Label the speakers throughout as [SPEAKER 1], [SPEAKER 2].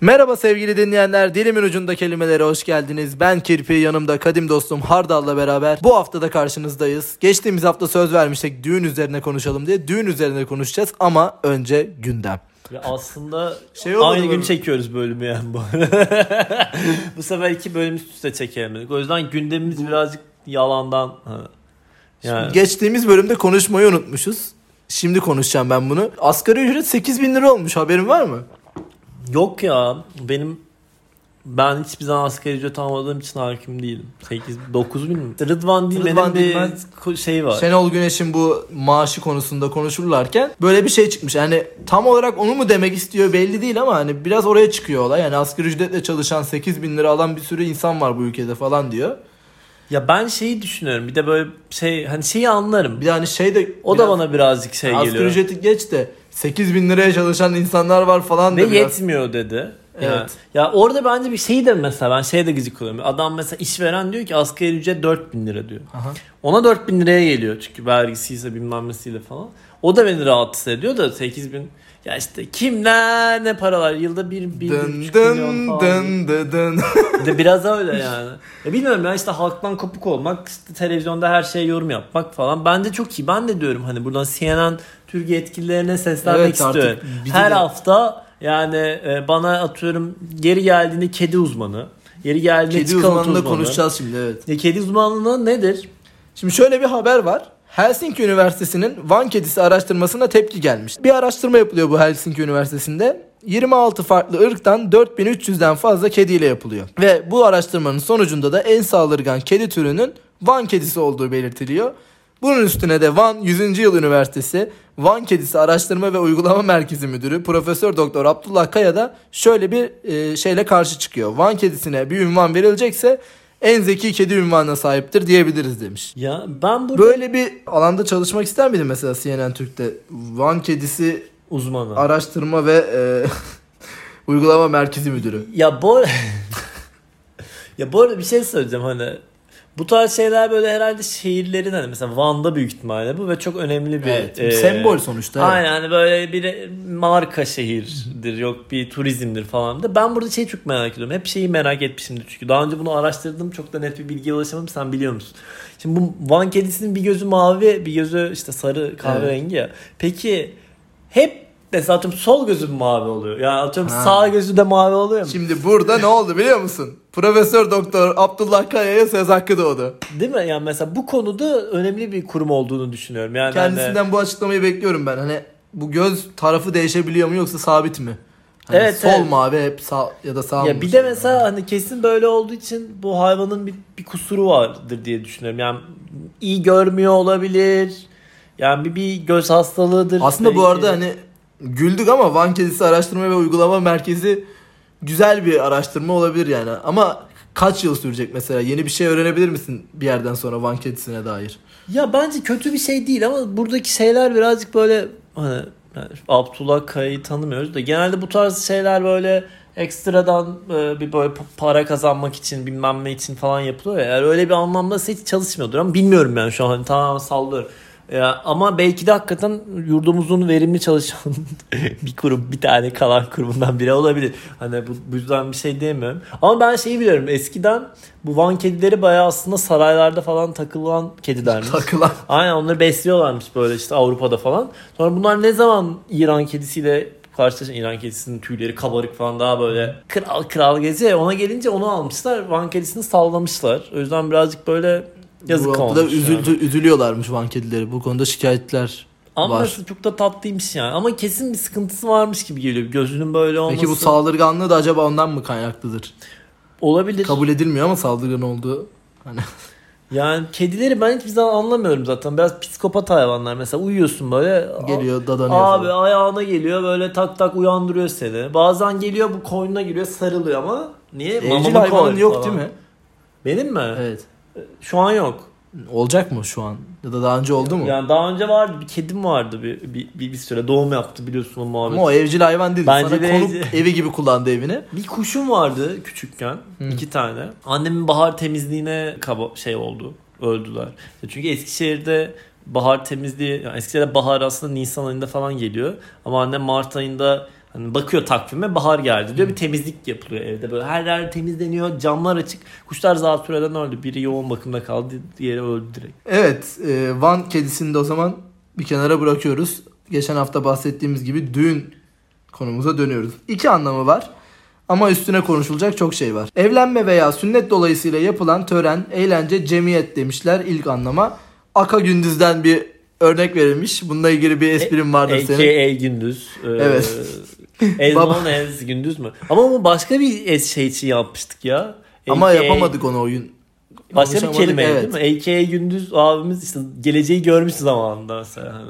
[SPEAKER 1] Merhaba sevgili dinleyenler. Dilimin ucunda kelimelere hoş geldiniz. Ben Kirpi, yanımda kadim dostum Hardal'la beraber bu hafta da karşınızdayız. Geçtiğimiz hafta söz vermiştik düğün üzerine konuşalım diye. Düğün üzerine konuşacağız ama önce gündem.
[SPEAKER 2] Ve aslında
[SPEAKER 1] Şey olmadı
[SPEAKER 2] aynı
[SPEAKER 1] mı?
[SPEAKER 2] gün çekiyoruz bölümü yani bu. bu sefer iki bölüm üst üste çekemedik. O yüzden gündemimiz birazcık yalandan. ha. Yani
[SPEAKER 1] Geçtiğimiz bölümde konuşmayı unutmuşuz. Şimdi konuşacağım ben bunu. Asgari ücret 8 bin lira olmuş haberin var mı?
[SPEAKER 2] yok ya benim ben hiçbir zaman asgari ücret almadığım için hakim değilim. 8 9 bin mi? Rıdvan Dilmen'in
[SPEAKER 1] Rıdvan
[SPEAKER 2] bir
[SPEAKER 1] Dilmen-
[SPEAKER 2] ko- şey var.
[SPEAKER 1] Şenol Güneş'in bu maaşı konusunda konuşurlarken böyle bir şey çıkmış. Yani tam olarak onu mu demek istiyor belli değil ama hani biraz oraya çıkıyor olay. Yani asgari ücretle çalışan 8 bin lira alan bir sürü insan var bu ülkede falan diyor.
[SPEAKER 2] Ya ben şeyi düşünüyorum. Bir de böyle şey hani şeyi anlarım.
[SPEAKER 1] Bir de hani şey de
[SPEAKER 2] O da
[SPEAKER 1] biraz-
[SPEAKER 2] bana birazcık şey
[SPEAKER 1] asgari
[SPEAKER 2] geliyor.
[SPEAKER 1] ücreti geç de 8 bin liraya çalışan insanlar var falan da
[SPEAKER 2] Ve
[SPEAKER 1] biraz.
[SPEAKER 2] yetmiyor dedi.
[SPEAKER 1] Evet.
[SPEAKER 2] Ya, ya orada bence bir şey de mesela ben şey de gıcık oluyorum. Adam mesela işveren diyor ki asgari ücret 4000 lira diyor.
[SPEAKER 1] Aha.
[SPEAKER 2] Ona 4000 liraya geliyor çünkü vergisiyle bilmem nesiyle falan. O da beni rahatsız ediyor da 8000 ya işte kimler ne paralar yılda 1 1
[SPEAKER 1] Dın
[SPEAKER 2] milyon
[SPEAKER 1] dın
[SPEAKER 2] falan.
[SPEAKER 1] dın dın dın.
[SPEAKER 2] Bir de biraz öyle yani. Ya bilmiyorum ya işte halktan kopuk olmak, işte televizyonda her şeye yorum yapmak falan. Bence çok iyi. Ben de diyorum hani buradan CNN Türkiye yetkililerine seslenmek
[SPEAKER 1] Evet, artık
[SPEAKER 2] istiyorum.
[SPEAKER 1] bizi
[SPEAKER 2] Her
[SPEAKER 1] de-
[SPEAKER 2] hafta yani e, bana atıyorum geri geldiğinde kedi uzmanı, geri geldiğinde
[SPEAKER 1] Kedi
[SPEAKER 2] çikolata
[SPEAKER 1] uzmanında
[SPEAKER 2] uzmanı.
[SPEAKER 1] konuşacağız şimdi evet.
[SPEAKER 2] Ya kedi uzmanlığı nedir?
[SPEAKER 1] Şimdi şöyle bir haber var. Helsinki Üniversitesi'nin Van kedisi araştırmasına tepki gelmiş. Bir araştırma yapılıyor bu Helsinki Üniversitesi'nde. 26 farklı ırktan 4300'den fazla kediyle yapılıyor. Ve bu araştırmanın sonucunda da en saldırgan kedi türünün Van kedisi olduğu belirtiliyor. Bunun üstüne de Van 100. Yıl Üniversitesi Van Kedisi Araştırma ve Uygulama Merkezi Müdürü Profesör Doktor Abdullah Kaya da şöyle bir e, şeyle karşı çıkıyor. Van kedisine bir ünvan verilecekse en zeki kedi ünvanına sahiptir diyebiliriz demiş.
[SPEAKER 2] Ya ben burada
[SPEAKER 1] Böyle bir alanda çalışmak ister miydin mesela CNN Türk'te? Van Kedisi
[SPEAKER 2] uzmanı.
[SPEAKER 1] Araştırma ve e, Uygulama Merkezi Müdürü.
[SPEAKER 2] Ya bu Ya bu arada bir şey söyleyeceğim hani bu tarz şeyler böyle herhalde şehirlerin hani mesela Van'da büyük ihtimalle bu ve çok önemli bir
[SPEAKER 1] Evet,
[SPEAKER 2] e,
[SPEAKER 1] sembol sonuçta, evet.
[SPEAKER 2] Aynen hani böyle bir marka şehirdir yok bir turizmdir falan da ben burada şeyi çok merak ediyorum. Hep şeyi merak etmişimdir çünkü daha önce bunu araştırdım çok da net bir bilgiye ulaşamadım sen biliyor musun? Şimdi bu Van kedisinin bir gözü mavi bir gözü işte sarı kahverengi ya. Peki hep mesela atıyorum sol gözü mü mavi oluyor? Yani atıyorum
[SPEAKER 1] Ha.
[SPEAKER 2] sağ gözü de mavi oluyor mu?
[SPEAKER 1] Şimdi burada ne oldu biliyor musun? Profesör Doktor Abdullah Kaya'ya söz hakkı doğdu.
[SPEAKER 2] Değil mi? Yani mesela bu konuda önemli bir kurum olduğunu düşünüyorum. Yani hani-
[SPEAKER 1] Kendisinden bu açıklamayı bekliyorum ben. Hani bu göz tarafı değişebiliyor mu yoksa sabit mi? Hani
[SPEAKER 2] Evet,
[SPEAKER 1] sol
[SPEAKER 2] evet.
[SPEAKER 1] mavi hep sağ ya da sağ mı?
[SPEAKER 2] ya bir de mesela hani kesin böyle olduğu için bu hayvanın bir, bir kusuru vardır diye düşünüyorum. Yani iyi görmüyor olabilir. Yani bir, bir göz hastalığıdır.
[SPEAKER 1] Aslında bu
[SPEAKER 2] belki.
[SPEAKER 1] arada hani güldük ama Van Kedisi Araştırma ve Uygulama Merkezi güzel bir araştırma olabilir yani. Ama kaç yıl sürecek mesela? Yeni bir şey öğrenebilir misin bir yerden sonra Van Kedisi'ne dair?
[SPEAKER 2] Ya bence kötü bir şey değil ama buradaki şeyler birazcık böyle hani yani Abdullah Kaya'yı tanımıyoruz da genelde bu tarz şeyler böyle ekstradan e, bir böyle pa- para kazanmak için bilmem ne için falan yapılıyor ya. Yani öyle bir anlamda hiç çalışmıyordur ama bilmiyorum yani şu an hani tamamen sallıyorum. Ya, ama belki de hakikaten yurdumuzun verimli çalışan bir kurum bir tane kalan kurumundan biri olabilir. Hani bu, bu yüzden bir şey diyemiyorum. Ama ben şeyi biliyorum eskiden bu Van kedileri bayağı aslında saraylarda falan takılan kedilermiş.
[SPEAKER 1] Takılan.
[SPEAKER 2] Aynen onları besliyorlarmış böyle işte Avrupa'da falan. Sonra bunlar ne zaman İran kedisiyle karşılaşan İran kedisinin tüyleri kabarık falan daha böyle kral kral geziyor. ya, Ona gelince onu almışlar. Van kedisini sallamışlar. O yüzden birazcık böyle yazık
[SPEAKER 1] bu
[SPEAKER 2] olmuş.
[SPEAKER 1] hafta da
[SPEAKER 2] yani.
[SPEAKER 1] üzüldü, üzülüyorlarmış Van Kedileri. Bu konuda şikayetler
[SPEAKER 2] Ama
[SPEAKER 1] var.
[SPEAKER 2] nasıl çok da tatlıymış yani. Ama kesin bir sıkıntısı varmış gibi geliyor. Gözünün böyle olması.
[SPEAKER 1] Peki bu saldırganlığı da acaba ondan mı kaynaklıdır?
[SPEAKER 2] olabilir.
[SPEAKER 1] Kabul edilmiyor ama saldırgan olduğu. Hani
[SPEAKER 2] Yani kedileri ben hiçbir zaman anlamıyorum zaten. Biraz psikopat hayvanlar mesela uyuyorsun böyle.
[SPEAKER 1] geliyor dadanıyor.
[SPEAKER 2] Abi
[SPEAKER 1] falan.
[SPEAKER 2] ayağına geliyor böyle tak tak uyandırıyor seni. Bazen geliyor bu koynuna giriyor sarılıyor ama niye?
[SPEAKER 1] Evcil
[SPEAKER 2] Mamama
[SPEAKER 1] hayvanın
[SPEAKER 2] koy
[SPEAKER 1] yok
[SPEAKER 2] falan.
[SPEAKER 1] değil mi?
[SPEAKER 2] Benim mi?
[SPEAKER 1] Evet.
[SPEAKER 2] Şu an yok.
[SPEAKER 1] Olacak mı şu an? Ya da daha önce oldu mu?
[SPEAKER 2] Yani daha önce vardı bir kedim vardı bir, bir, bir, bir süre doğum yaptı biliyorsun o muhabbet.
[SPEAKER 1] Ama o evcil hayvan değil.
[SPEAKER 2] Bence
[SPEAKER 1] Sana
[SPEAKER 2] de
[SPEAKER 1] konuk
[SPEAKER 2] evcil-
[SPEAKER 1] evi gibi kullandı evini.
[SPEAKER 2] Bir kuşum vardı küçükken. iki tane. Annemin bahar temizliğine kaba şey oldu. Öldüler. İşte Çünkü Eskişehir'de bahar temizliği yani Eskişehir'de bahar aslında Nisan ayında falan geliyor. Ama annem Mart ayında Hani bakıyor takvime bahar geldi diyor bir temizlik yapılıyor evde böyle her yer temizleniyor camlar açık kuşlar zatürreden öldü biri yoğun bakımda kaldı diğeri öldü direkt.
[SPEAKER 1] Evet e, Van kedisini de o zaman bir kenara bırakıyoruz. Geçen hafta bahsettiğimiz gibi düğün konumuza dönüyoruz. İki anlamı var ama üstüne konuşulacak çok şey var. Evlenme veya sünnet dolayısıyla yapılan tören, eğlence, cemiyet demişler ilk anlama. Aka Gündüz'den bir örnek verilmiş. Bununla ilgili bir
[SPEAKER 2] E,
[SPEAKER 1] esprim vardır
[SPEAKER 2] AK
[SPEAKER 1] senin.
[SPEAKER 2] Gündüz. Ee,
[SPEAKER 1] Evet.
[SPEAKER 2] Ezman
[SPEAKER 1] Baba.
[SPEAKER 2] Ez Gündüz mü? Ama bu başka bir es- şey için yapmıştık ya. şey,
[SPEAKER 1] Ama
[SPEAKER 2] AK
[SPEAKER 1] yapamadık onu oyun.
[SPEAKER 2] Başka bir
[SPEAKER 1] Konuşamadık,
[SPEAKER 2] kelime
[SPEAKER 1] evet.
[SPEAKER 2] değil mi? AK Gündüz abimiz işte geleceği görmüş zamanında mesela. Hani.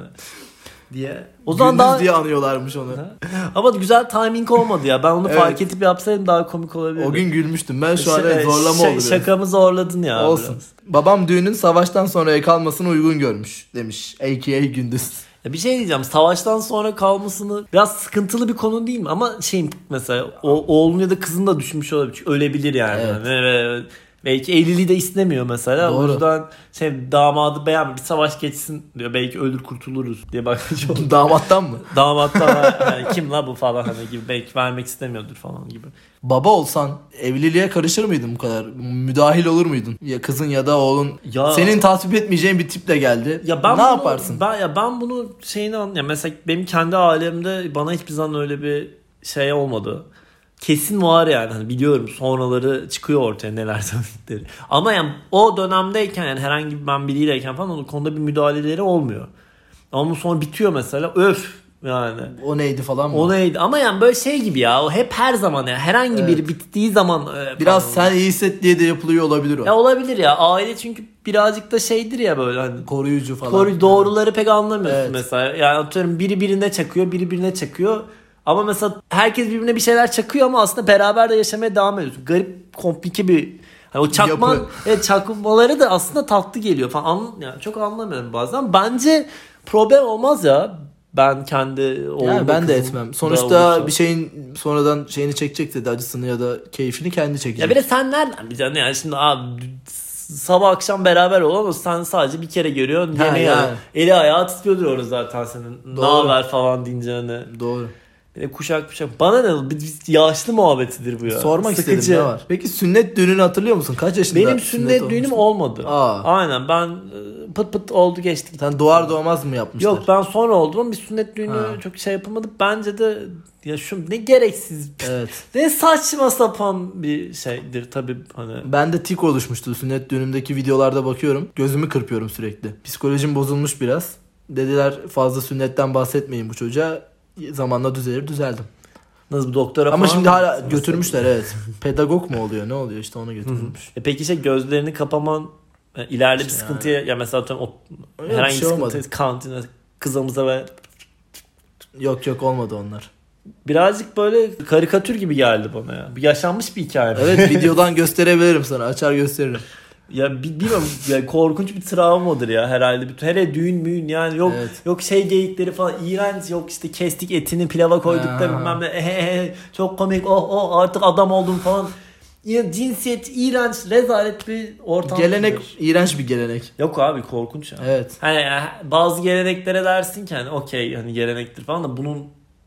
[SPEAKER 2] Diye. O zaman
[SPEAKER 1] Gündüz
[SPEAKER 2] daha...
[SPEAKER 1] diye anıyorlarmış onu.
[SPEAKER 2] Ha? Ama güzel timing olmadı ya. Ben onu
[SPEAKER 1] Evet.
[SPEAKER 2] fark edip yapsaydım daha komik olabilirdi.
[SPEAKER 1] O gün gülmüştüm. Ben şu an
[SPEAKER 2] Ş-
[SPEAKER 1] evet, zorlama
[SPEAKER 2] ş-
[SPEAKER 1] oldu. biraz.
[SPEAKER 2] Şakamı zorladın ya.
[SPEAKER 1] Olsun.
[SPEAKER 2] biraz.
[SPEAKER 1] Babam düğünün savaştan sonraya kalmasını uygun görmüş demiş. A.K.A. Gündüz.
[SPEAKER 2] Ya bir şey diyeceğim. Savaştan sonra kalmasını biraz sıkıntılı bir konu değil mi? Ama şeyim mesela o, oğlun ya da kızın da düşünmüş olabilir. Çünkü ölebilir yani.
[SPEAKER 1] Evet.
[SPEAKER 2] Hani, ve- ve- belki evliliği de istemiyor mesela.
[SPEAKER 1] Doğru.
[SPEAKER 2] O yüzden şey, damadı beğenmiyor. Bir savaş geçsin diyor. Belki ölür kurtuluruz diye bakmış oldu.
[SPEAKER 1] Damattan mı?
[SPEAKER 2] Damat da yani e, kim la bu falan hani gibi. Belki vermek istemiyordur falan gibi.
[SPEAKER 1] Baba olsan evliliğe karışır mıydın bu kadar? Müdahil olur muydun? Ya kızın ya da oğlun.
[SPEAKER 2] Ya-
[SPEAKER 1] Senin tasvip etmeyeceğin bir tiple geldi.
[SPEAKER 2] Ya ben
[SPEAKER 1] ne
[SPEAKER 2] bunu-
[SPEAKER 1] yaparsın?
[SPEAKER 2] Ben ya ben bunu şeyini an ya mesela benim kendi ailemde bana hiçbir zaman öyle bir şey olmadı. Kesin var yani hani biliyorum sonraları çıkıyor ortaya neler söyledikleri. Ama yani o dönemdeyken yani herhangi bir ben biriyleyken falan o konuda bir müdahaleleri olmuyor. Ama bu sonra bitiyor mesela öf yani.
[SPEAKER 1] O neydi falan mı?
[SPEAKER 2] O neydi? Ama yani böyle şey gibi ya. O hep her zaman ya. Herhangi biri bittiği zaman e, falan
[SPEAKER 1] Biraz
[SPEAKER 2] oluyor.
[SPEAKER 1] sen iyi hisset diye de yapılıyor olabilir o.
[SPEAKER 2] ya olabilir ya. Aile çünkü birazcık da şeydir ya böyle hani
[SPEAKER 1] Koruyucu falan.
[SPEAKER 2] Doğru, doğruları pek anlamıyorsun
[SPEAKER 1] Evet.
[SPEAKER 2] mesela. Yani atıyorum biri birine çakıyor, biri birine çakıyor. Ama mesela herkes birbirine bir şeyler çakıyor ama aslında beraber de yaşamaya devam ediyorsun. Garip, komplike bir Hani o çakma,
[SPEAKER 1] Yapı.
[SPEAKER 2] evet, çakmaları da aslında tatlı geliyor falan. An- yani çok anlamıyorum bazen. Bence problem olmaz ya. Ben kendi oğlum
[SPEAKER 1] Yani ben de
[SPEAKER 2] kızım
[SPEAKER 1] etmem.
[SPEAKER 2] da
[SPEAKER 1] Sonuçta
[SPEAKER 2] olursa.
[SPEAKER 1] bir şeyin sonradan şeyini çekecek dedi acısını ya da keyfini kendi çekecek.
[SPEAKER 2] Ya bir de sen nereden bileceksin yani şimdi abi sabah akşam beraber olalım sen sadece bir kere görüyorsun
[SPEAKER 1] Ha,
[SPEAKER 2] yemeği
[SPEAKER 1] yani.
[SPEAKER 2] yani. eli ayağı titriyordur orada zaten senin ne
[SPEAKER 1] Doğru.
[SPEAKER 2] haber falan deyince hani
[SPEAKER 1] Doğru.
[SPEAKER 2] Bir de kuşak kuşak bana ne bir- bir yaşlı muhabbetidir bu ya
[SPEAKER 1] Sormak
[SPEAKER 2] Sıkıcı.
[SPEAKER 1] istedim ne var? Ee, Peki sünnet düğününü hatırlıyor musun? Kaç yaşında?
[SPEAKER 2] benim sünnet, düğünüm
[SPEAKER 1] olmuştun?
[SPEAKER 2] olmadı
[SPEAKER 1] Aa.
[SPEAKER 2] aynen ben e, pıt pıt oldu geçtik
[SPEAKER 1] Sen doğar doğmaz mı yapmışlar?
[SPEAKER 2] Yok ben sonra oldum ama bir sünnet düğünü
[SPEAKER 1] Ha.
[SPEAKER 2] çok şey yapılmadı. Bence de ya şu ne gereksiz
[SPEAKER 1] Evet.
[SPEAKER 2] ne saçma sapan bir şeydir tabii hani
[SPEAKER 1] Ben de tik oluşmuştu sünnet düğünümdeki videolarda bakıyorum. Gözümü kırpıyorum sürekli. Psikolojim bozulmuş biraz. Dediler fazla sünnetten bahsetmeyin bu çocuğa. Zamanla düzelir düzeldim.
[SPEAKER 2] Nasıl bir doktora
[SPEAKER 1] Ama
[SPEAKER 2] falan
[SPEAKER 1] şimdi
[SPEAKER 2] mı
[SPEAKER 1] hala
[SPEAKER 2] gitsin
[SPEAKER 1] götürmüşler evet. Pedagog mu oluyor ne oluyor işte ona götürülmüş.
[SPEAKER 2] mesela? E peki şey gözlerini kapaman e, ileride bir sıkıntıya ya mesela atıyorum o,
[SPEAKER 1] Öyle bir
[SPEAKER 2] herhangi bir
[SPEAKER 1] şey
[SPEAKER 2] sıkıntı
[SPEAKER 1] olmadı.
[SPEAKER 2] kantine kızımıza ve
[SPEAKER 1] Yok yok olmadı onlar.
[SPEAKER 2] birazcık böyle karikatür gibi geldi bana ya. Bir yaşanmış bir hikaye.
[SPEAKER 1] Evet videodan gösterebilirim sana açar gösteririm.
[SPEAKER 2] Ya bi- bilmiyorum ya korkunç bir travmadır ya herhalde. Bütün hele düğün müğün yani yok
[SPEAKER 1] Evet.
[SPEAKER 2] yok şey geyikleri falan iğrenç yok işte kestik etini pilava koyduk da
[SPEAKER 1] Ha.
[SPEAKER 2] bilmem ne ehehe, çok komik oh oh artık adam oldum falan. Ya cinsiyet iğrenç rezalet bir ortam.
[SPEAKER 1] Gelenek iğrenç bir gelenek.
[SPEAKER 2] Yok abi korkunç ya.
[SPEAKER 1] Evet.
[SPEAKER 2] Hani ya, bazı geleneklere dersin ki hani okey hani gelenektir falan da bunun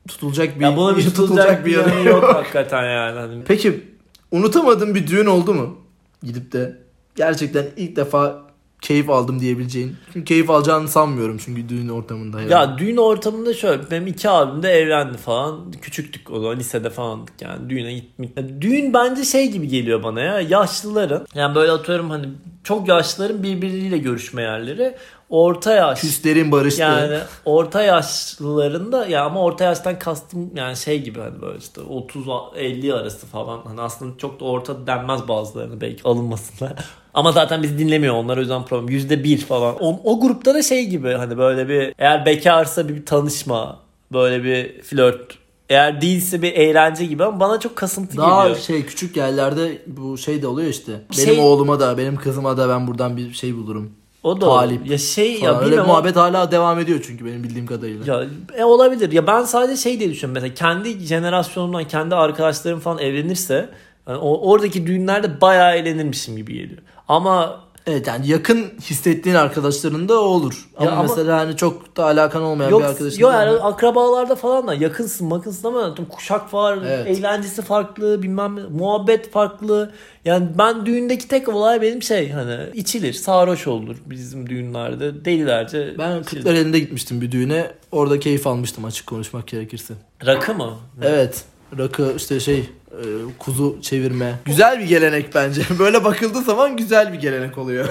[SPEAKER 1] Tutulacak bir
[SPEAKER 2] ya buna bir tutulacak bir
[SPEAKER 1] yanı
[SPEAKER 2] yönü yok hakikaten yani. Hani
[SPEAKER 1] Peki unutamadığın bir düğün oldu mu? Gidip de gerçekten ilk defa keyif aldım diyebileceğin. Çünkü keyif alacağını sanmıyorum çünkü düğün ortamında. yani.
[SPEAKER 2] Ya düğün ortamında şöyle benim iki abim de evlendi falan. Küçüktük o zaman lisede falandık yani düğüne gitmek. Ya Düğün bence şey gibi geliyor bana ya yaşlıların yani böyle atıyorum hani çok yaşlıların birbiriyle görüşme yerleri. Orta yaş
[SPEAKER 1] küslerin barıştı.
[SPEAKER 2] yani orta yaşlıların da ya ama orta yaştan kastım yani şey gibi hani böyle işte 30-50 arası falan hani aslında çok da orta denmez bazılarını belki alınmasınlar. Ama zaten bizi dinlemiyor onlar o yüzden problem. Yüzde bir falan. O, o grupta da şey gibi hani böyle bir eğer bekarsa bir tanışma böyle bir flört eğer değilse bir eğlence gibi ama bana çok kasıntı
[SPEAKER 1] Daha
[SPEAKER 2] geliyor.
[SPEAKER 1] şey küçük yerlerde bu şey de oluyor işte.
[SPEAKER 2] Şey-
[SPEAKER 1] Benim oğluma da benim kızıma da ben buradan bir şey bulurum.
[SPEAKER 2] O da
[SPEAKER 1] talip
[SPEAKER 2] ya şey
[SPEAKER 1] Falan.
[SPEAKER 2] ya
[SPEAKER 1] Öyle bir
[SPEAKER 2] bilmiyorum
[SPEAKER 1] muhabbet hala devam ediyor çünkü benim bildiğim kadarıyla.
[SPEAKER 2] Ya e, olabilir. Ya ben sadece şey diye düşünüyorum. Mesela kendi jenerasyonumdan, kendi arkadaşlarım falan evlenirse yani o, oradaki düğünlerde bayağı eğlenirmişim gibi geliyor. Ama
[SPEAKER 1] Evet yani yakın hissettiğin arkadaşlarında o olur. Ama,
[SPEAKER 2] Ya ama-
[SPEAKER 1] mesela hani çok da alakan olmayan
[SPEAKER 2] Yok,
[SPEAKER 1] bir arkadaşın.
[SPEAKER 2] yok yani akrabalarda falan da yakınsın makınsın ama tüm kuşak var,
[SPEAKER 1] Evet.
[SPEAKER 2] eğlencesi farklı, bilmem ne, muhabbet farklı. Yani ben düğündeki tek olay benim şey hani içilir, sarhoş olur bizim düğünlerde delilerce.
[SPEAKER 1] Ben
[SPEAKER 2] içilir.
[SPEAKER 1] kırklar elinde gitmiştim bir düğüne. Orada keyif almıştım açık konuşmak gerekirse.
[SPEAKER 2] Rakı mı?
[SPEAKER 1] Evet. Rakı işte şey e, kuzu çevirme. Güzel bir gelenek bence. Böyle bakıldığı zaman güzel bir gelenek oluyor.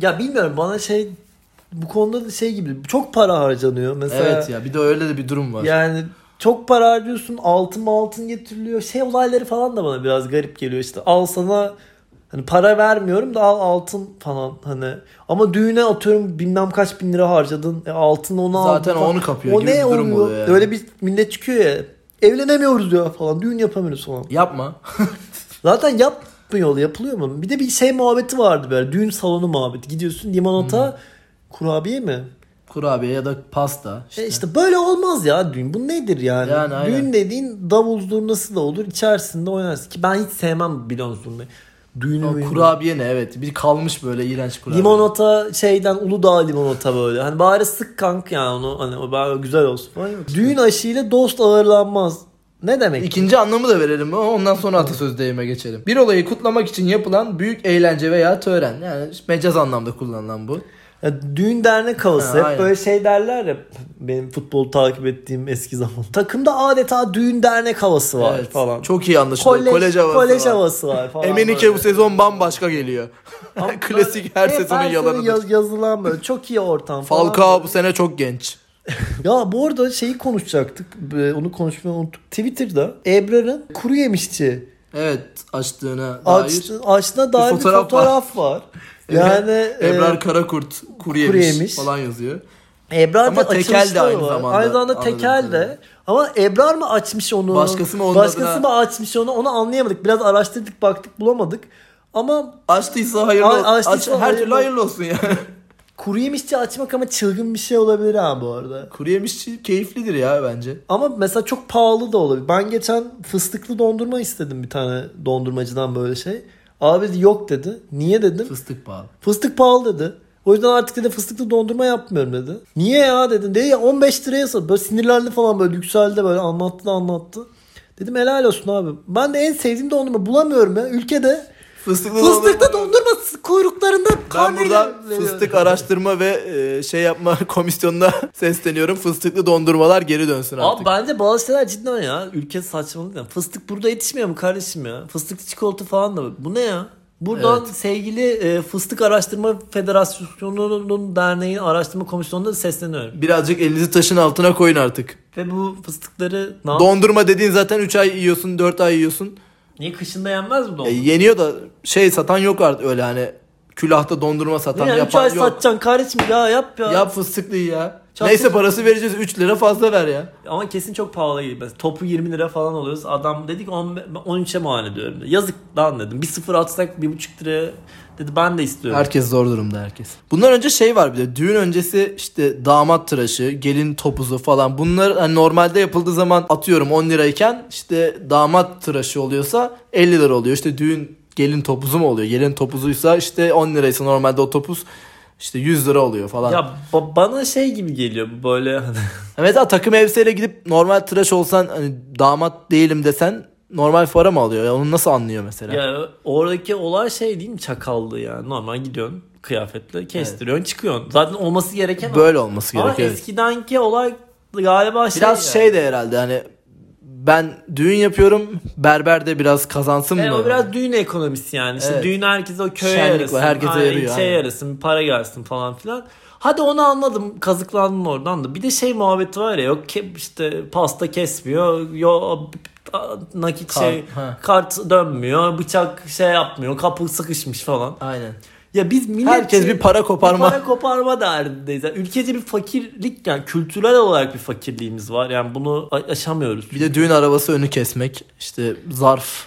[SPEAKER 2] Ya bilmiyorum bana şey bu konuda da şey gibi çok para harcanıyor mesela.
[SPEAKER 1] evet ya bir de öyle de bir durum var.
[SPEAKER 2] Yani çok para harcıyorsun altın altın getiriliyor. Şey olayları falan da bana biraz garip geliyor işte. Al sana hani para vermiyorum da al altın falan hani. Ama düğüne atıyorum bilmem kaç bin lira harcadın. E, altın onu aldın
[SPEAKER 1] Zaten
[SPEAKER 2] falan.
[SPEAKER 1] onu kapıyor gibi bir durum oluyor yani.
[SPEAKER 2] Öyle bir millet çıkıyor ya. Evlenemiyoruz diyor falan. Düğün yapamıyoruz falan.
[SPEAKER 1] Yapma.
[SPEAKER 2] Zaten yapmıyor yapılıyor mu? Bir de bir şey muhabbeti vardı böyle. Düğün salonu muhabbeti. Gidiyorsun limonata
[SPEAKER 1] Hmm.
[SPEAKER 2] kurabiye mi?
[SPEAKER 1] Kurabiye ya da pasta. işte.
[SPEAKER 2] İşte. E işte böyle olmaz ya düğün. Bu nedir yani?
[SPEAKER 1] Yani aynen.
[SPEAKER 2] düğün dediğin davul zurnası da olur. içerisinde oynarsın. Ki ben hiç sevmem bilon zurnayı. Düğün
[SPEAKER 1] O
[SPEAKER 2] müyün?
[SPEAKER 1] kurabiye ne evet. Bir kalmış böyle iğrenç kurabiye.
[SPEAKER 2] Limonata şeyden Uludağ limonata böyle. Hani bari sık kank yani onu hani o bari güzel olsun. falan. Düğün aşıyla dost ağırlanmaz. Ne demek?
[SPEAKER 1] İkinci anlamı da verelim ama ondan sonra atasöz deyime geçelim. Bir olayı kutlamak için yapılan büyük eğlence veya tören. Yani mecaz anlamda kullanılan bu.
[SPEAKER 2] Ya düğün dernek havası.
[SPEAKER 1] Ha,
[SPEAKER 2] Hep
[SPEAKER 1] aynen.
[SPEAKER 2] böyle şey derler ya benim futbol takip ettiğim eski zaman. Takımda adeta düğün dernek havası var
[SPEAKER 1] Evet,
[SPEAKER 2] falan.
[SPEAKER 1] Çok iyi anlaşılıyor.
[SPEAKER 2] kolej,
[SPEAKER 1] Kolej, havası
[SPEAKER 2] kolej
[SPEAKER 1] var.
[SPEAKER 2] havası var falan.
[SPEAKER 1] Emenike
[SPEAKER 2] böyle.
[SPEAKER 1] bu sezon bambaşka geliyor. Klasik her
[SPEAKER 2] Hep
[SPEAKER 1] sezonun yalanıdır.
[SPEAKER 2] yaz- yazılan böyle çok iyi ortam falan.
[SPEAKER 1] Falcao bu sene çok genç.
[SPEAKER 2] Ya bu arada şeyi konuşacaktık. Ee, Onu konuşmayı unuttuk. Twitter'da Ebrar'ın kuru yemişçi
[SPEAKER 1] Evet açtığına dair.
[SPEAKER 2] açtı, açtığına dair bir fotoğraf,
[SPEAKER 1] fotoğraf
[SPEAKER 2] var.
[SPEAKER 1] Yani
[SPEAKER 2] Yani e,
[SPEAKER 1] Ebrar Karakurt kuru yemiş,
[SPEAKER 2] kuru yemiş.
[SPEAKER 1] falan yazıyor.
[SPEAKER 2] Ebrar
[SPEAKER 1] Ama
[SPEAKER 2] da
[SPEAKER 1] tekel de
[SPEAKER 2] açılışta
[SPEAKER 1] aynı
[SPEAKER 2] var.
[SPEAKER 1] zamanda.
[SPEAKER 2] Aynı zamanda
[SPEAKER 1] Anladım,
[SPEAKER 2] tekel de.
[SPEAKER 1] evet.
[SPEAKER 2] Ama Ebrar mı açmış onu?
[SPEAKER 1] Başkası mı onun
[SPEAKER 2] Başkası
[SPEAKER 1] adına-
[SPEAKER 2] mı açmış onu? Onu anlayamadık. Biraz araştırdık baktık bulamadık. Ama
[SPEAKER 1] Açtıysa hayırlı olsun.
[SPEAKER 2] Ay- açtıysa
[SPEAKER 1] Aç- her
[SPEAKER 2] hayırlı
[SPEAKER 1] türlü hayırlı olsun yani.
[SPEAKER 2] kuru yemişçi açmak ama çılgın bir şey olabilir ha bu arada.
[SPEAKER 1] kuru yemişçi keyiflidir ya bence.
[SPEAKER 2] Ama mesela çok pahalı da olabilir. Ben geçen fıstıklı dondurma istedim bir tane dondurmacıdan böyle şey. Abi dedi, yok dedi. Niye dedim?
[SPEAKER 1] Fıstık pahalı.
[SPEAKER 2] Fıstık pahalı dedi. O yüzden artık dedi fıstıklı dondurma yapmıyorum dedi. Niye ya dedim. Dedi ya 15 liraya sat. Böyle sinirlendi falan böyle yükseldi böyle anlattı da anlattı. Dedim helal olsun abi. Ben de en sevdiğim dondurma bulamıyorum ya. Ülkede
[SPEAKER 1] Fıstıklı
[SPEAKER 2] fıstıklı dondurma kuyruklarında
[SPEAKER 1] Ben
[SPEAKER 2] karneyle
[SPEAKER 1] burada
[SPEAKER 2] veriyor.
[SPEAKER 1] fıstık araştırma ve e, şey yapma komisyonuna sesleniyorum. Fıstıklı dondurmalar geri dönsün artık.
[SPEAKER 2] Abi bence bazı şeyler cidden ya. Ülke saçmalık ya. Fıstık burada yetişmiyor mu kardeşim ya? Fıstıklı çikolata falan da. Bu ne ya? Buradan
[SPEAKER 1] Evet.
[SPEAKER 2] sevgili e, Fıstık Araştırma Federasyonu'nun derneği araştırma komisyonuna da sesleniyorum.
[SPEAKER 1] Birazcık elinizi taşın altına koyun artık.
[SPEAKER 2] Ve bu fıstıkları ne yap-
[SPEAKER 1] Dondurma dediğin zaten 3 ay yiyorsun, 4 ay yiyorsun.
[SPEAKER 2] Niye kışında yenmez mi
[SPEAKER 1] E,
[SPEAKER 2] dondurma?
[SPEAKER 1] yeniyor da şey satan yok artık öyle hani külahta dondurma satan
[SPEAKER 2] Ne ya, üç
[SPEAKER 1] yapan
[SPEAKER 2] ay
[SPEAKER 1] yok.
[SPEAKER 2] satacaksın kardeşim ya yap ya.
[SPEAKER 1] Yap fıstıklıyı ya.
[SPEAKER 2] Çat-
[SPEAKER 1] Neyse parası vereceğiz 3 lira fazla ver ya.
[SPEAKER 2] Ama kesin çok pahalı gibi. Mesela Topu 20 lira falan alıyoruz. Adam dedik 10 ben 13'e mal ediyorum. dedi. Yazık lan dedim. Bir sıfır atsak bir buçuk lira dedi ben de istiyorum.
[SPEAKER 1] Herkes zor durumda herkes. Bundan önce şey var bir de düğün öncesi işte damat tıraşı, gelin topuzu falan bunlar hani normalde yapıldığı zaman atıyorum 10 lirayken işte damat tıraşı oluyorsa 50 lira oluyor. İşte düğün gelin topuzu mu oluyor? Gelin topuzuysa işte 10 liraysa normalde o topuz işte 100 lira oluyor falan.
[SPEAKER 2] Ya ba- bana şey gibi geliyor bu böyle hani,
[SPEAKER 1] Mesela takım elbiseyle gidip normal tıraş olsan hani damat değilim desen normal para mı alıyor? Ya onu nasıl anlıyor mesela?
[SPEAKER 2] ya oradaki olay şey değil mi çakallı yani normal gidiyorsun kıyafetle kestiriyorsun çıkıyorsun. Zaten olması gereken o.
[SPEAKER 1] Böyle olması
[SPEAKER 2] Ama
[SPEAKER 1] gerekiyor.
[SPEAKER 2] eskidenki olay galiba şey
[SPEAKER 1] Biraz
[SPEAKER 2] yani.
[SPEAKER 1] şey de herhalde hani ben düğün yapıyorum berber de biraz kazansın
[SPEAKER 2] E,
[SPEAKER 1] mı?
[SPEAKER 2] o biraz düğün ekonomisi yani. Şimdi
[SPEAKER 1] Evet.
[SPEAKER 2] düğün herkese o köye
[SPEAKER 1] Şenlik
[SPEAKER 2] yarasın.
[SPEAKER 1] var, herkese
[SPEAKER 2] aynen,
[SPEAKER 1] yarıyor,
[SPEAKER 2] Şey
[SPEAKER 1] aynen.
[SPEAKER 2] yarasın, bir para gelsin falan filan. Hadi onu anladım. Kazıklandın oradan da. Bir de şey muhabbeti var ya. Yok ke- işte pasta kesmiyor. Yok nakit
[SPEAKER 1] Kart,
[SPEAKER 2] şey
[SPEAKER 1] ha.
[SPEAKER 2] kart dönmüyor. Bıçak şey yapmıyor. Kapı sıkışmış falan.
[SPEAKER 1] Aynen.
[SPEAKER 2] Ya biz millet şey-
[SPEAKER 1] Herkes bir para koparma.
[SPEAKER 2] para koparma derdindeyiz. Yani ülkede bir fakirlik yani kültürel olarak bir fakirliğimiz var. Yani bunu a- aşamıyoruz.
[SPEAKER 1] Bir de düğün arabası önü kesmek işte zarf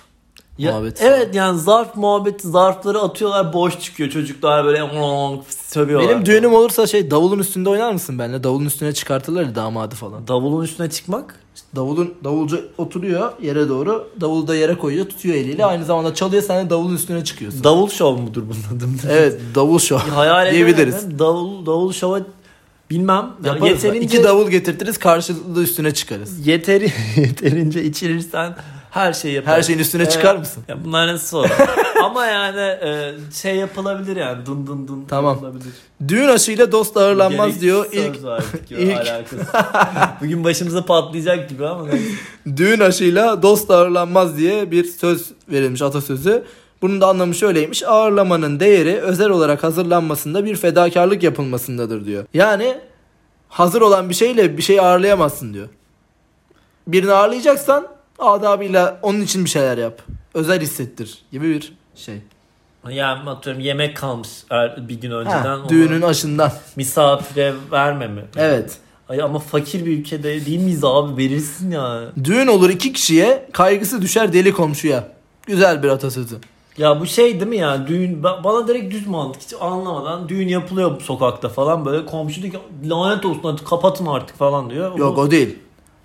[SPEAKER 2] Ya,
[SPEAKER 1] muhabbeti
[SPEAKER 2] evet yani zarf muhabbeti zarfları atıyorlar boş çıkıyor çocuklar böyle "Ong" sövüyorlar.
[SPEAKER 1] Benim düğünüm olursa şey davulun üstünde oynar mısın benimle? Davulun üstüne çıkartırlar ya damadı falan.
[SPEAKER 2] Davulun üstüne çıkmak
[SPEAKER 1] Davulun davulcu oturuyor yere doğru. Davulu da yere koyuyor, tutuyor eliyle. Aynı zamanda çalıyor sen de davulun üstüne çıkıyorsun.
[SPEAKER 2] davul şov mudur bunun adı?
[SPEAKER 1] evet, davul şov
[SPEAKER 2] Hayal
[SPEAKER 1] diyebiliriz.
[SPEAKER 2] edemedim. Davul, davul şova bilmem. Yani
[SPEAKER 1] Yaparız.
[SPEAKER 2] yeterince,
[SPEAKER 1] İki davul getirtiriz karşılıklı üstüne çıkarız.
[SPEAKER 2] yeteri, yeterince içirirsen her şeyi yaparsın.
[SPEAKER 1] Her şeyin üstüne çıkar mısın?
[SPEAKER 2] Ya bunlar nasıl olur? Ama yani e, şey yapılabilir yani dın dın dın
[SPEAKER 1] Tamam.
[SPEAKER 2] yapılabilir.
[SPEAKER 1] Düğün aşıyla dost ağırlanmaz
[SPEAKER 2] Gereksiz
[SPEAKER 1] diyor.
[SPEAKER 2] söz
[SPEAKER 1] İlk
[SPEAKER 2] artık ya,
[SPEAKER 1] ilk-
[SPEAKER 2] alakası. Bugün başımıza patlayacak gibi ama neyse.
[SPEAKER 1] Düğün aşıyla dost ağırlanmaz diye bir söz verilmiş atasözü. Bunun da anlamı şöyleymiş. Ağırlamanın değeri özel olarak hazırlanmasında bir fedakarlık yapılmasındadır diyor. Yani hazır olan bir şeyle bir şey ağırlayamazsın diyor. Birini ağırlayacaksan adabıyla onun için bir şeyler yap. Özel hissettir gibi bir şey.
[SPEAKER 2] Yani atıyorum yemek kalmış er- bir gün önceden.
[SPEAKER 1] Ha,
[SPEAKER 2] onu
[SPEAKER 1] düğünün aşından.
[SPEAKER 2] misafire verme mi?
[SPEAKER 1] Evet.
[SPEAKER 2] Ay ama fakir bir ülkede değil miyiz abi verirsin ya.
[SPEAKER 1] Düğün olur iki kişiye kaygısı düşer deli komşuya. Güzel bir atasözü.
[SPEAKER 2] Ya bu şey değil mi yani düğün ba- bana direkt düz mantık hiç anlamadan düğün yapılıyor bu sokakta falan böyle komşu diyor ki lanet olsun hadi kapatın artık falan diyor.
[SPEAKER 1] Yok
[SPEAKER 2] Bu-
[SPEAKER 1] o değil.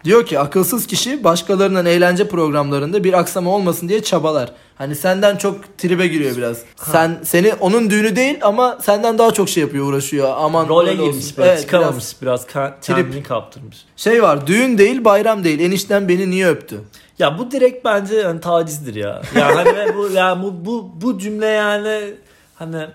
[SPEAKER 1] Diyor ki akılsız kişi başkalarının eğlence programlarında bir aksama olmasın diye çabalar. Hani senden çok tribe giriyor biraz. Sen seni onun düğünü değil ama senden daha çok şey yapıyor uğraşıyor. Aman
[SPEAKER 2] role
[SPEAKER 1] öyle olsun.
[SPEAKER 2] girmiş böyle
[SPEAKER 1] Evet, biraz
[SPEAKER 2] çıkamamış biraz, ka-
[SPEAKER 1] Trip.
[SPEAKER 2] kendini kaptırmış.
[SPEAKER 1] Şey var düğün değil bayram değil enişten beni niye öptü?
[SPEAKER 2] Ya bu direkt bence yani tacizdir ya. Yani hani ve bu yani bu, bu bu cümle yani hani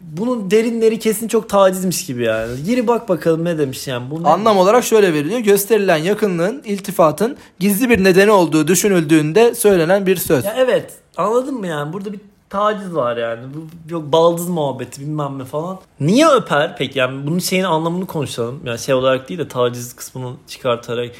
[SPEAKER 2] bunun derinleri kesin çok tacizmiş gibi yani. Giri bak bakalım ne demiş yani. Bu ne-
[SPEAKER 1] Anlam olarak şöyle veriliyor. Gösterilen yakınlığın, iltifatın gizli bir nedeni olduğu düşünüldüğünde söylenen bir söz.
[SPEAKER 2] Ya evet anladın mı yani burada bir taciz var yani. Bu, yok baldız muhabbeti bilmem ne falan. Niye öper peki yani bunun şeyin anlamını konuşalım. Yani şey olarak değil de taciz kısmını çıkartarak.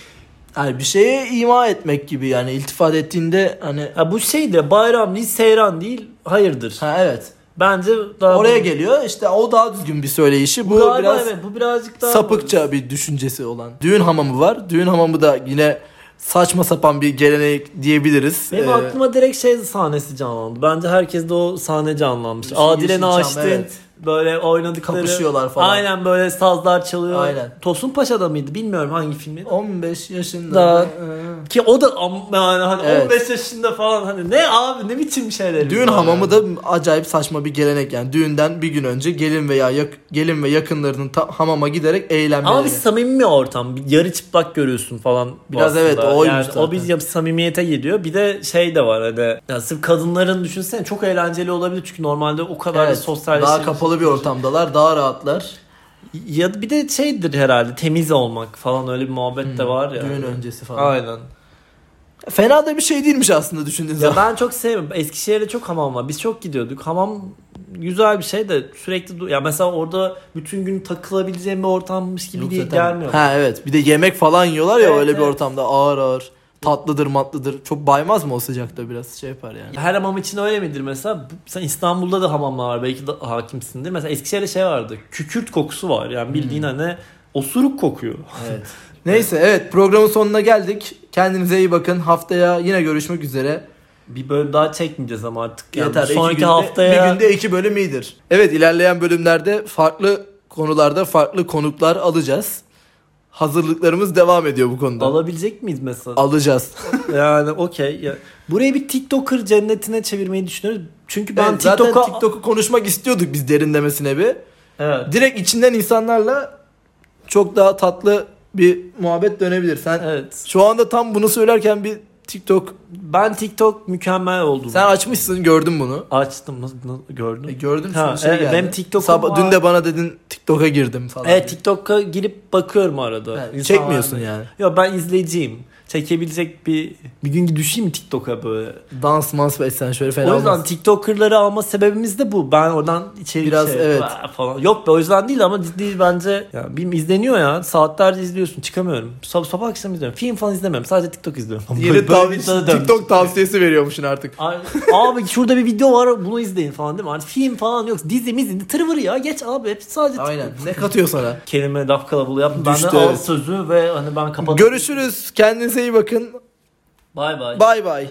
[SPEAKER 1] Yani bir şeye ima etmek gibi yani iltifat ettiğinde hani
[SPEAKER 2] Ya bu şey de bayram değil seyran değil hayırdır.
[SPEAKER 1] ha evet.
[SPEAKER 2] Bence daha
[SPEAKER 1] Oraya
[SPEAKER 2] bu-
[SPEAKER 1] geliyor. işte o daha düzgün bir söyleyişi. Bu,
[SPEAKER 2] Galiba
[SPEAKER 1] biraz
[SPEAKER 2] evet, bu birazcık daha
[SPEAKER 1] sapıkça bir düşüncesi olan. Düğün hamamı var. Düğün hamamı da yine saçma sapan bir gelenek diyebiliriz.
[SPEAKER 2] Benim
[SPEAKER 1] Ee,
[SPEAKER 2] aklıma direkt şey sahnesi canlandı. Bence herkes de o sahne canlanmış.
[SPEAKER 1] Yeşil
[SPEAKER 2] Adile
[SPEAKER 1] Yeşilçam,
[SPEAKER 2] Naşit'in
[SPEAKER 1] evet.
[SPEAKER 2] böyle oynadıkları.
[SPEAKER 1] Kapışıyorlar falan.
[SPEAKER 2] Aynen böyle sazlar çalıyor.
[SPEAKER 1] Aynen.
[SPEAKER 2] Tosun Paşa'da mıydı bilmiyorum hangi filmdi.
[SPEAKER 1] 15 yaşında.
[SPEAKER 2] Daha-
[SPEAKER 1] Ee,
[SPEAKER 2] Ki o da am- yani hani
[SPEAKER 1] Evet.
[SPEAKER 2] 15 yaşında falan hani ne abi ne biçim şeyler.
[SPEAKER 1] Düğün hamamı da acayip saçma bir gelenek yani. Düğünden bir gün önce gelin veya yak- gelin ve yakınlarının ta- hamama giderek eğlenmeleri.
[SPEAKER 2] Ama bir samimi bir ortam. Bir yarı çıplak görüyorsun falan.
[SPEAKER 1] Biraz
[SPEAKER 2] aslında.
[SPEAKER 1] evet, oymuş
[SPEAKER 2] Yani
[SPEAKER 1] zaten.
[SPEAKER 2] o bir ya bir samimiyete geliyor. Bir de şey de var hani. Ya sırf kadınların düşünsene çok eğlenceli olabilir. Çünkü normalde o kadar da
[SPEAKER 1] Evet,
[SPEAKER 2] sosyalleşme.
[SPEAKER 1] daha kapalı bir ortamdalar, daha rahatlar.
[SPEAKER 2] Ya bir de şeydir herhalde temiz olmak falan öyle bir muhabbet de var ya.
[SPEAKER 1] Hmm. Düğün öncesi falan.
[SPEAKER 2] Aynen.
[SPEAKER 1] Fena da bir şey değilmiş aslında düşündüğün
[SPEAKER 2] Ya
[SPEAKER 1] zaman.
[SPEAKER 2] ben çok sevmiyorum. Eskişehir'de çok hamam var. Biz çok gidiyorduk. Hamam güzel bir şey de sürekli du- ya mesela orada bütün gün takılabileceğim bir ortammış gibi
[SPEAKER 1] Yok
[SPEAKER 2] diye
[SPEAKER 1] zaten-
[SPEAKER 2] gelmiyor.
[SPEAKER 1] Ha evet. Bir de yemek falan yiyorlar ya
[SPEAKER 2] Evet,
[SPEAKER 1] öyle bir
[SPEAKER 2] evet.
[SPEAKER 1] ortamda ağır ağır. Tatlıdır matlıdır. Çok baymaz mı o sıcakta biraz şey yapar yani.
[SPEAKER 2] Her hamam için öyle midir mesela? Bu- Mesela İstanbul'da da hamamlar var. Belki de hakimsindir. Mesela Eskişehir'de şey vardı. Kükürt kokusu var. Yani
[SPEAKER 1] Hmm.
[SPEAKER 2] bildiğin hani osuruk kokuyor.
[SPEAKER 1] Evet. Neyse evet programın sonuna geldik. Kendinize iyi bakın. Haftaya yine görüşmek üzere.
[SPEAKER 2] Bir bölüm daha çekmeyeceğiz ama artık. Yani
[SPEAKER 1] Yeter.
[SPEAKER 2] bu
[SPEAKER 1] iki
[SPEAKER 2] sonraki
[SPEAKER 1] günde-
[SPEAKER 2] haftaya
[SPEAKER 1] Bir günde iki bölüm iyidir. Evet ilerleyen bölümlerde farklı konularda farklı konuklar alacağız. Hazırlıklarımız devam ediyor bu konuda.
[SPEAKER 2] alabilecek miyiz mesela?
[SPEAKER 1] alacağız.
[SPEAKER 2] Yani okey. Ya. Burayı bir TikToker cennetine çevirmeyi düşünüyoruz. Çünkü ben
[SPEAKER 1] Ben zaten
[SPEAKER 2] TikTok'a...
[SPEAKER 1] TikTok'u konuşmak istiyorduk biz derinlemesine bir.
[SPEAKER 2] Evet.
[SPEAKER 1] Direkt içinden insanlarla çok daha tatlı bir muhabbet dönebilir. Sen
[SPEAKER 2] Evet.
[SPEAKER 1] şu anda tam bunu söylerken bir TikTok
[SPEAKER 2] Ben TikTok mükemmel oldum.
[SPEAKER 1] sen açmışsın gördüm bunu.
[SPEAKER 2] açtım nasıl- nasıl- gördün?
[SPEAKER 1] E, gördüm
[SPEAKER 2] Ha,
[SPEAKER 1] şimdi şey
[SPEAKER 2] evet,
[SPEAKER 1] geldi.
[SPEAKER 2] benim TikTok'um
[SPEAKER 1] Sabah-
[SPEAKER 2] var.
[SPEAKER 1] dün de bana dedin TikTok'a girdim falan.
[SPEAKER 2] Evet E, TikTok'a girip bakıyorum arada.
[SPEAKER 1] Evet,
[SPEAKER 2] İnsanlar-
[SPEAKER 1] çekmiyorsun yani.
[SPEAKER 2] Yok ben izleyiciyim. Çekebilecek bir bir gün düşeyim TikTok'a böyle.
[SPEAKER 1] Dans mans ve sen şöyle fena
[SPEAKER 2] o yüzden
[SPEAKER 1] olmaz.
[SPEAKER 2] TikToker'ları alma sebebimiz de bu. Ben oradan içeri
[SPEAKER 1] Biraz
[SPEAKER 2] şey,
[SPEAKER 1] evet.
[SPEAKER 2] "Aa!" falan. Yok be o yüzden değil ama ciddi bence ya bir izleniyor ya. Saatlerce izliyorsun. Çıkamıyorum. Sabah, sabah akşam izliyorum. Film falan izlemiyorum. Sadece TikTok izliyorum.
[SPEAKER 1] Yeni
[SPEAKER 2] Böyle
[SPEAKER 1] tav-
[SPEAKER 2] bir insana dönmüş.
[SPEAKER 1] TikTok tavsiyesi veriyormuşsun artık.
[SPEAKER 2] Ay, Abi şurada bir video var bunu izleyin falan değil mi? Artık film falan yok. Dizi mizi tırvır ya geç abi. Hep sadece
[SPEAKER 1] Aynen. Ne katıyor sana?
[SPEAKER 2] kelime laf kalabalığı yapma.
[SPEAKER 1] Düştü,
[SPEAKER 2] Benden al
[SPEAKER 1] evet.
[SPEAKER 2] sözü ve hani ben kapatıyorum.
[SPEAKER 1] Görüşürüz. Kendinize iyi bakın.
[SPEAKER 2] Bay bay.
[SPEAKER 1] Bay bay.